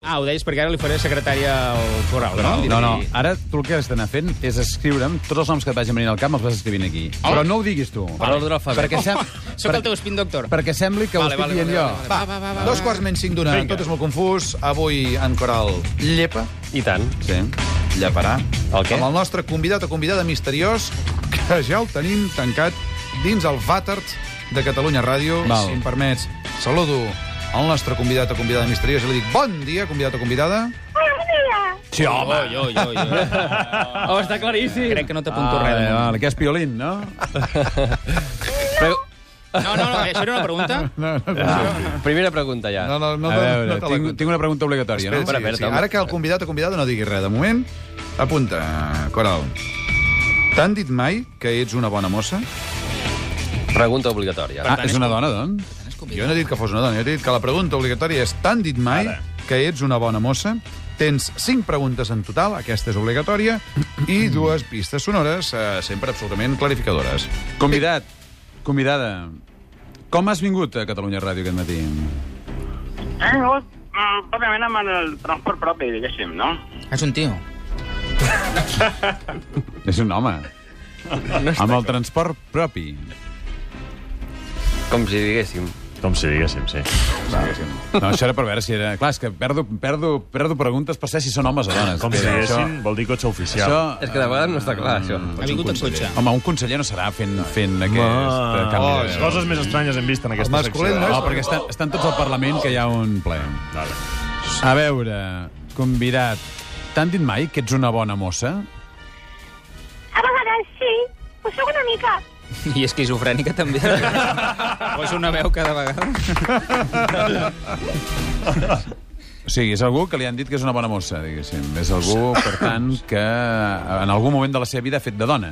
Ah, ho deies perquè ara li faré secretària al Corral, no? No, no, ara tu el que has d'anar fent és escriure'm tots els noms que et vagin venint al camp, els vas escrivint aquí. Però no ho diguis tu. Per ordre alfabètic. Perquè, sem Sóc el teu spin doctor. perquè sembli que Vale, ho estic vale, dient vale, jo. vale, Va, va, va, va, dos quarts menys cinc d'una. Tot és molt confús. Avui en Coral llepa. I tant. Sí, Ah, Lleparà. El què? Amb el nostre convidat o convidada misteriós, que ja el tenim tancat dins el vàter de Catalunya Ràdio. Val. Si em permets, saludo el nostre convidat o convidada misteriós i li dic bon dia, convidat o convidada. Sí, home. Jo, jo, jo, Oh, està claríssim. Crec que no t'apunto Ah, res. de bé, moment. vale, que és piolín, no? Pre No, no, no, això era una pregunta? ah. Primera pregunta ja. No, no, no, A te- veure, no te la tinc, conto. tinc una pregunta obligatòria, Espera, no? Espera, sí, espera, sí. home. Ara que el convidat o convidada no digui res de moment, apunta, Coral. T'han dit mai que ets una bona mossa? Pregunta obligatòria. Ah, és una dona, doncs? Jo no he dit que fos una dona, jo he dit que la pregunta obligatòria és t'han dit mai que ets una bona mossa? Tens cinc preguntes en total, aquesta és obligatòria, i dues pistes sonores, eh, sempre absolutament clarificadores. Eh, Convidat, convidada, com has vingut a Catalunya Ràdio aquest matí? Eh, vos, mm, pròpiament amb el transport propi, diguéssim, no? És un tio. És un home. Amb el transport propi. Com si diguéssim. Com si diguéssim, sí. No, això era per veure si era... Clar, és que perdo, perdo, perdo preguntes per saber si són homes o dones. Com si Espera, diguéssim vol dir cotxe Això, oficial. això, És que de vegades no està clar, això. Ha vingut en cotxe. Home, un conseller no serà fent, fent aquest canvi Oh, de veu. Ah, Coses més estranyes hem vist en aquesta El masculí secció. no és- No, perquè estan, estan tots al Parlament, que hi ha un ple. Vale. A veure, convidat, t'han dit mai que ets una bona mossa? A vegades sí, ho sóc una mica. I esquizofrènica, també. o és una veu cada vegada. O sigui, és algú que li han dit que és una bona mossa, diguéssim. És algú, per tant, que eh, en algun moment de la seva vida ha fet de dona.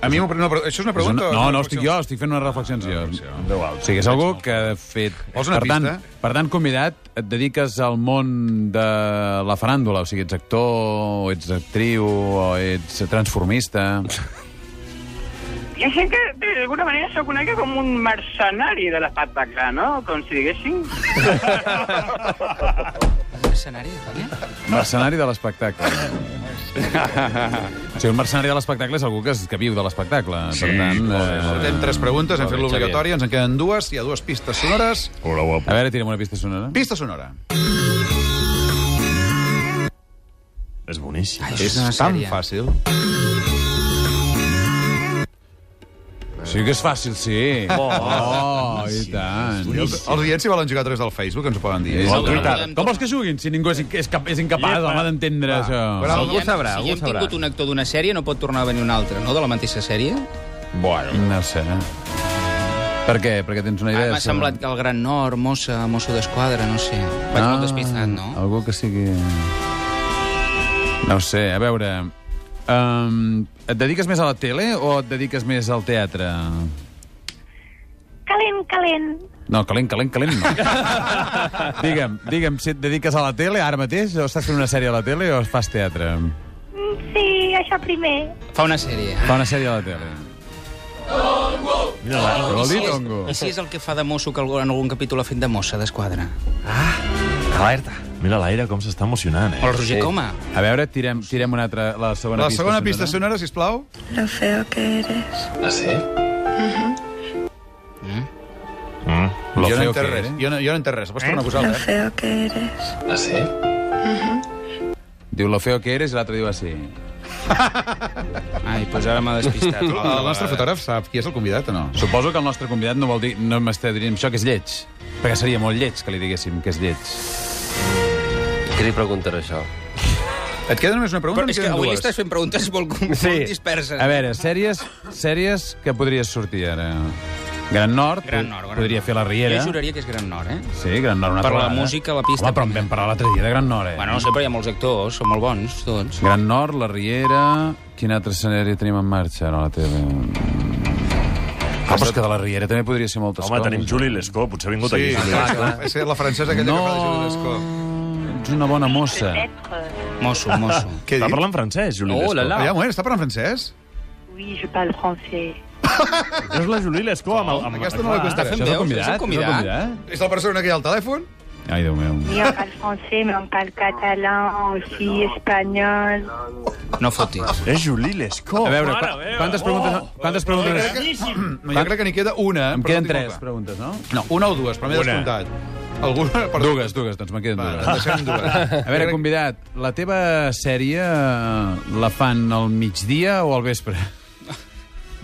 A mi m'ho pre- no, però això és una És pregunta? una- o No, una no, estic reflexió? jo, estic fent unes reflexions jo. Déu alt. O sigui, és algú que ha fet... Vols una per tant, pista? per tant, convidat, et dediques al món de la faràndula. O sigui, ets actor, o ets actriu, o ets transformista... Hi ha gent que, d'alguna manera, se conega com un mercenari de l'espectacle, no? Com si diguéssim. Escenari, eh? Mercenari de l'espectacle. O sigui, un mercenari de l'espectacle és algú que, es, que viu de l'espectacle. Sí, per tant, eh, Portem tres preguntes, hem fet Molt bé, l'obligatòria, ens en queden dues, hi ha dues pistes sonores. Hola, guapo. a veure, tira'm una pista sonora. Pista sonora. És boníssim. És tan fàcil. Sí que és fàcil, sí. Oh, i tant. Els, els oients, si volen jugar a través del Facebook, ens ho poden dir. És Eh? el Twitter. Podem Com vols que juguin si ningú és, inca- és, cap, és incapaç, home, d'entendre això? Però- Algú sabrà, si algú hi hem sabrà. tingut un actor d'una sèrie, no pot tornar a venir un altre, no? De la mateixa sèrie? Bueno. No sé. Per què? Perquè tens una Ah, idea? M'ha semblat que el Gran Nord, Mossa, Mosso d'Esquadra, no sé. Vaig molt despistat, no? Algú que sigui... No ho sé, a veure... Um, et dediques més a la tele o et dediques més al teatre? Calent, calent. No, calent, calent, calent no. digue'm, digue'm, si et dediques a la tele ara mateix o estàs fent una sèrie a la tele o fas teatre? Mm, Sí, això primer. Fa una sèrie. Fa una sèrie a la tele. Mira, la- Vol I dir si és- tongo? I si és el que fa de mosso que algú- en algun capítol ha fet de mossa d'Esquadra? Alerta. Mira l'aire com s'està emocionant, O eh? el Roger Coma? A veure, tirem, tirem una altra, la segona La pista. segona pista sonora, si plau. Lo feo que eres. Ah, Mm. Lo jo no feo entenc que res. eh? era. Jo no, jo no entenc res. Pots tornar a posar Lo eh? feo que eres. Ah, Diu lo feo que eres i l'altre diu així. Ai, doncs ara m'ha despistat. El nostre fotògraf sap qui és el convidat o no? Suposo que el nostre convidat no vol dir... No m'està dient això, que és lleig. Perquè seria molt lleig que li diguéssim que és lleig. Què li preguntaré, això? Et queda només una pregunta? Però és en que queden avui dues. li estàs fent preguntes molt, com- molt disperses. A veure, sèries, sèries que podries sortir ara. Gran Nord, Gran Nord, Gran podria Nord. fer la Riera. Jo juraria que és Gran Nord, eh? Sí, Gran Nord una Per la altra vegada. música, la pista, Home, però en primer. vam parlar l'altre dia de Gran Nord, eh? Bueno, no sé, però hi ha molts actors, són molt bons, tots. Gran Nord, la Riera... Quin altre escenari tenim en marxa ara a la tele? Ah, però és que de la Riera també podria ser moltes Home, coses. tenim Juli Lescó, potser ha vingut Sí, aquí. clar, clar. És la francesa aquella No, que fa de Juli Lescó. ets una bona mossa. Mosso, mosso. Què diu? Està parlant francès, Juli Oh, Lescó. la la. Ah, ja, un moment, està parlant francès? Oui, je parle français. És la Juli Lescó amb el... Amb Aquesta no l'he clar. Està contestat. fent Això és el veus, és un convidat? Això és el convidat. convidat? És la persona que hi ha al telèfon? Ai, Déu meu. Mais on parle français, mais on parle catalan, aussi espagnol. No fotis. És Julie Lescó. A veure, Mare qua- eh, oh. meva. quantes preguntes- Oh! quantes preguntes- Bravíssim. Jo crec que n'hi queda una. eh? Em però queden no tinc tres clar. preguntes, no? No, una o dues, però m'he Una. descomptat. Alguna? Per... Dues, dues, doncs me'n queden Va, dues. deixem dues. A veure, convidat, la teva sèrie eh, la fan al migdia o al vespre?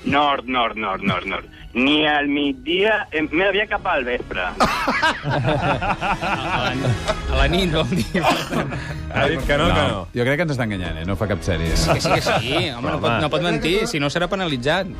Nord, nord, nord, nord, nord. Ni al migdia... eh, Me havia cap al vespre. A la, a la nit, vol dir. Ha dit que no, que no. Jo crec que ens està enganyant, eh? No fa cap sèrie. Que sí, que sí. Home, no pot, no pot mentir, si no serà penalitzat.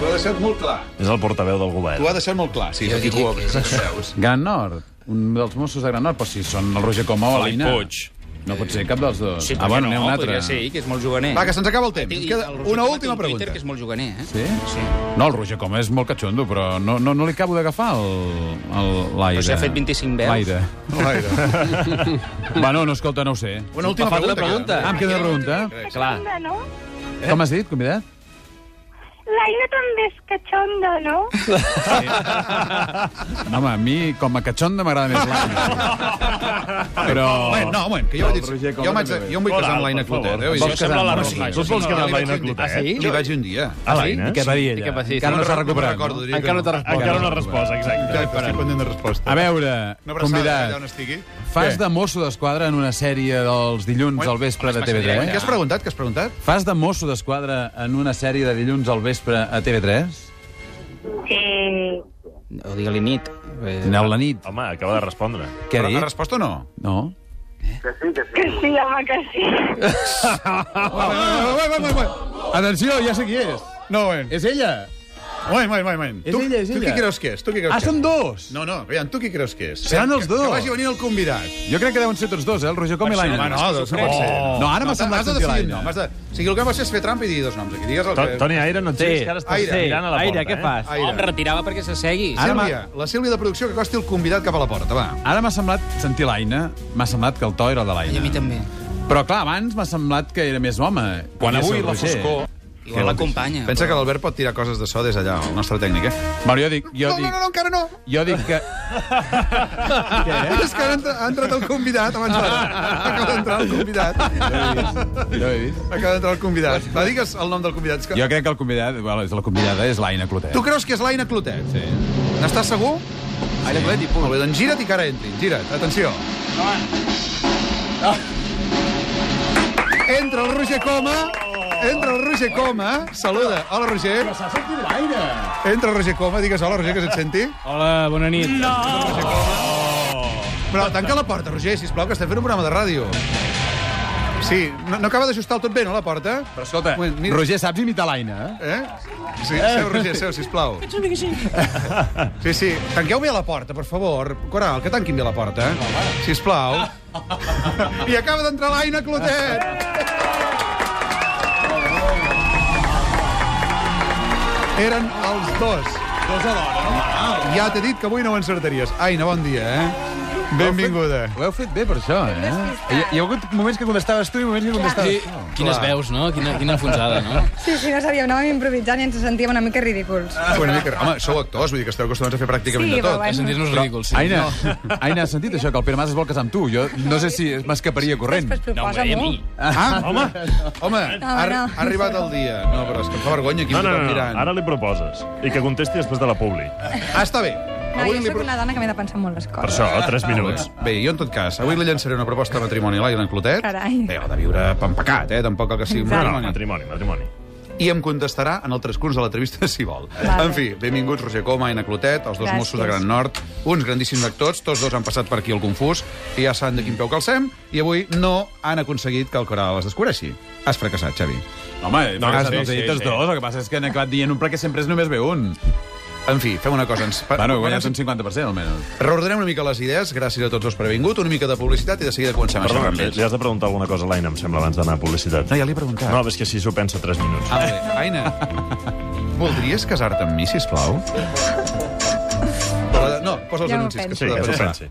T'ho ha deixat molt clar. És el portaveu del govern. T'ho ha deixat molt clar. Sí, és aquí tu ho veus. Gran Nord, un dels Mossos de Gran Nord, però si són el Roger Comó o l'Aina... Puig. No pot ser cap dels dos. Sí, ah, bueno, n'hi ha un altre. podria ser, que és molt juganer. Va, que se'ns acaba el temps. I Ens el queda Roger una Tomat té última un Twitter, pregunta. que és molt juganer, eh? Sí? Sí. No, el Roger Comó és molt catxondo, però no, no, no li acabo d'agafar el- el- l'aire. Però si ha fet 25 veus. L'aire. L'aire. Bueno, no, escolta, no ho sé. Una última Fa falta pregunta. una pregunta. Ah, em queda una pregunta. Clar. Cachonda, no? Com has dit, convidat? L'Aina també és cachonda, no? No, home, a mi, com a catxonda, m'agrada més l'aire. Però... Bueno, no, bueno, que jo, he dit, Roger Comó jo, m'haig de- també. jo em vull casar amb l'Aina Clotet. Eh? Vols Això Vull dir, casar sembla la amb Rosa. l'Aina? Tu et vols quedar amb l'Aina Clotet? Ah, sí? Li vaig dir un dia. A Ah, Eh? l'Aina? Què va dir ella? Què va dir? Encara no s'ha recuperat, recordo, no? diria que Encara no. no t'ha eh? Encara recuperat. no ha respost, exacte. Exacte, estic pendent de resposta. A veure, Una abraçada allà on convidat, estigui. fas de mosso d'esquadra en una sèrie dels dilluns al vespre de eh? Què has TV3? preguntat? Què has preguntat? Fas de mosso d'esquadra en una sèrie de dilluns al vespre a TV3? Eh, O digue-li nit. Eh, Aneu la nit. Home, acaba de respondre. Què ha Però La dit? resposta o no? No. que sí, home, que sí. Oh, Atenció, ja sé qui és. No, bueno. És ella. Bueno, bueno, bueno, bueno. Eh. És Tu- ella, és Tu ella. qui creus que és? Tu qui creus Ah, que és? són dos! No, no, aviam, tu qui creus que és? Seran Que- els dos. Que vagi venint el convidat. Jo crec que deuen ser tots dos, eh? El Roger Com i l'Aina. Oh. Home, no, doncs no pot ser. No, ara m'ha t'has- semblat has de sentir decidir un l'Aina. nom, has de... O sigui, el que vas fer és fer trampa i dir dos noms. Aquí digues el To- que... Toni Aire, no et giris, que ara estàs Aire. mirant a la porta. Aire, què eh? fas? Aire. Em Aire. retirava perquè s'assegui. Ara m'ha- Sílvia, la Sílvia de producció que costi el convidat cap a la porta, va. Ara m'ha semblat sentir l'Aina, m'ha semblat que el to era el de I a mi l'Aina. també. Però, clar, abans m'ha semblat que era més home. Quan Devia ser avui el la Roger. foscor... Igual l'acompanya. Pensa que l'Albert pot tirar coses de so des allà, el nostre tècnic, eh? Bueno, jo dic, jo No, no, dic, no, no, encara no. jo dic que... És que ha entrat, ha entrat el convidat abans d'ara. Acaba d'entrar el convidat. Jo he vist. Acaba d'entrar el convidat. Va, digues el nom del convidat. És que... Jo crec que el convidat, bueno, és la convidada és l'Aina Clotet. Tu creus que és l'Aina Clotet? Sí. N'estàs segur? Aire Clotet i punt. Molt bé, doncs gira't i que ara entrin. Gira't, atenció. Ah. Entra el Roger Coma. Entra el Roger Coma. Saluda. Hola, Roger. S'ha sentit l'Aina! Entra el Roger Coma. Digues hola, Roger, que se't senti. Hola, bona nit. No. Però tanca la porta, Roger, sisplau, que estem fent un programa de ràdio. Sí, no, no acaba d'ajustar el tot bé, no, la porta? Però escolta, Un moment, mira. Roger, saps imitar l'Aina? eh? Eh? Sí, seu, Roger, seu, sisplau. Sí, sí. Tanqueu bé la porta, per favor. Coral, que tanquin bé la porta. eh? Sisplau. I acaba d'entrar l'Aina Clotet. Eren els dos. Dos a l'hora, no? Ja t'he dit que avui no ho encertaries. Aina, bon dia, eh? Benvinguda. Ho heu fet bé, per això, eh? Hi, hi ha hagut moments que contestaves tu i moments que contestaves tu. Quines Clar. veus, no? Quina, quina enfonsada, no? Sí, sí, no sabíem, anàvem improvisant i ens sentíem una mica ridículs. Una mica... Home, sou actors, vull dir que esteu acostumats a fer pràcticament Sí, de tot. però bueno. Sentir-nos ridículs, sí. Aina, Aina, has sentit això, que el Pere Mas es vol casar amb tu? Jo no sé si m'escaparia corrent. Després proposa no, molt. eh? Ah, home, home, No, ha, no. ha arribat el dia. No, però és que em fa vergonya aquí No, no, tothom no, no, mirant. ara li proposes. I que contesti després de la publi. Ah, està bé. No, jo li sóc pro- una dona que m'he de pensar molt les Per coses. això, Ah, 3 minuts. Bé, jo en tot cas, avui li llançaré una proposta de matrimoni a l'Ailan Clotet. Carai. Bé, ha de viure pecat, eh? Tampoc el que sigui un No, no, matrimoni. matrimoni, matrimoni. I em contestarà en el transcurs de l'entrevista, si vol. Vale. En fi, benvinguts Roger Coma, Aina Clotet, els dos Gràcies. Mossos de Gran Nord, uns grandíssims actors, tots dos han passat per aquí al Confús, i ja saben de quin peu calcem, i avui no han aconseguit que el Coral es descobreixi. Has fracassat, Xavi. Home, no, Ah, no, no, sí, sí, sí, sí, sí. dos, el que passa és que han acabat dient un perquè sempre és només ve un. En fi, fem una cosa. Ens... Bueno, he quan ens- guanyat un 50% almenys. Reordenem una mica les idees, gràcies a tots els previnguts, una mica de publicitat i de seguida comencem a Perdona, xerrar amb li, ells. li has de preguntar alguna cosa a l'Aina, em sembla, abans d'anar a publicitat. No, ja l'he preguntat. No, és que si s'ho pensa 3 minuts. Ah, molt bé. Aina, voldries casar-te amb mi, sisplau? Però, no, posa els Ja m'ho anuncis. penso. Sí, que s'ho s'ha de pensi.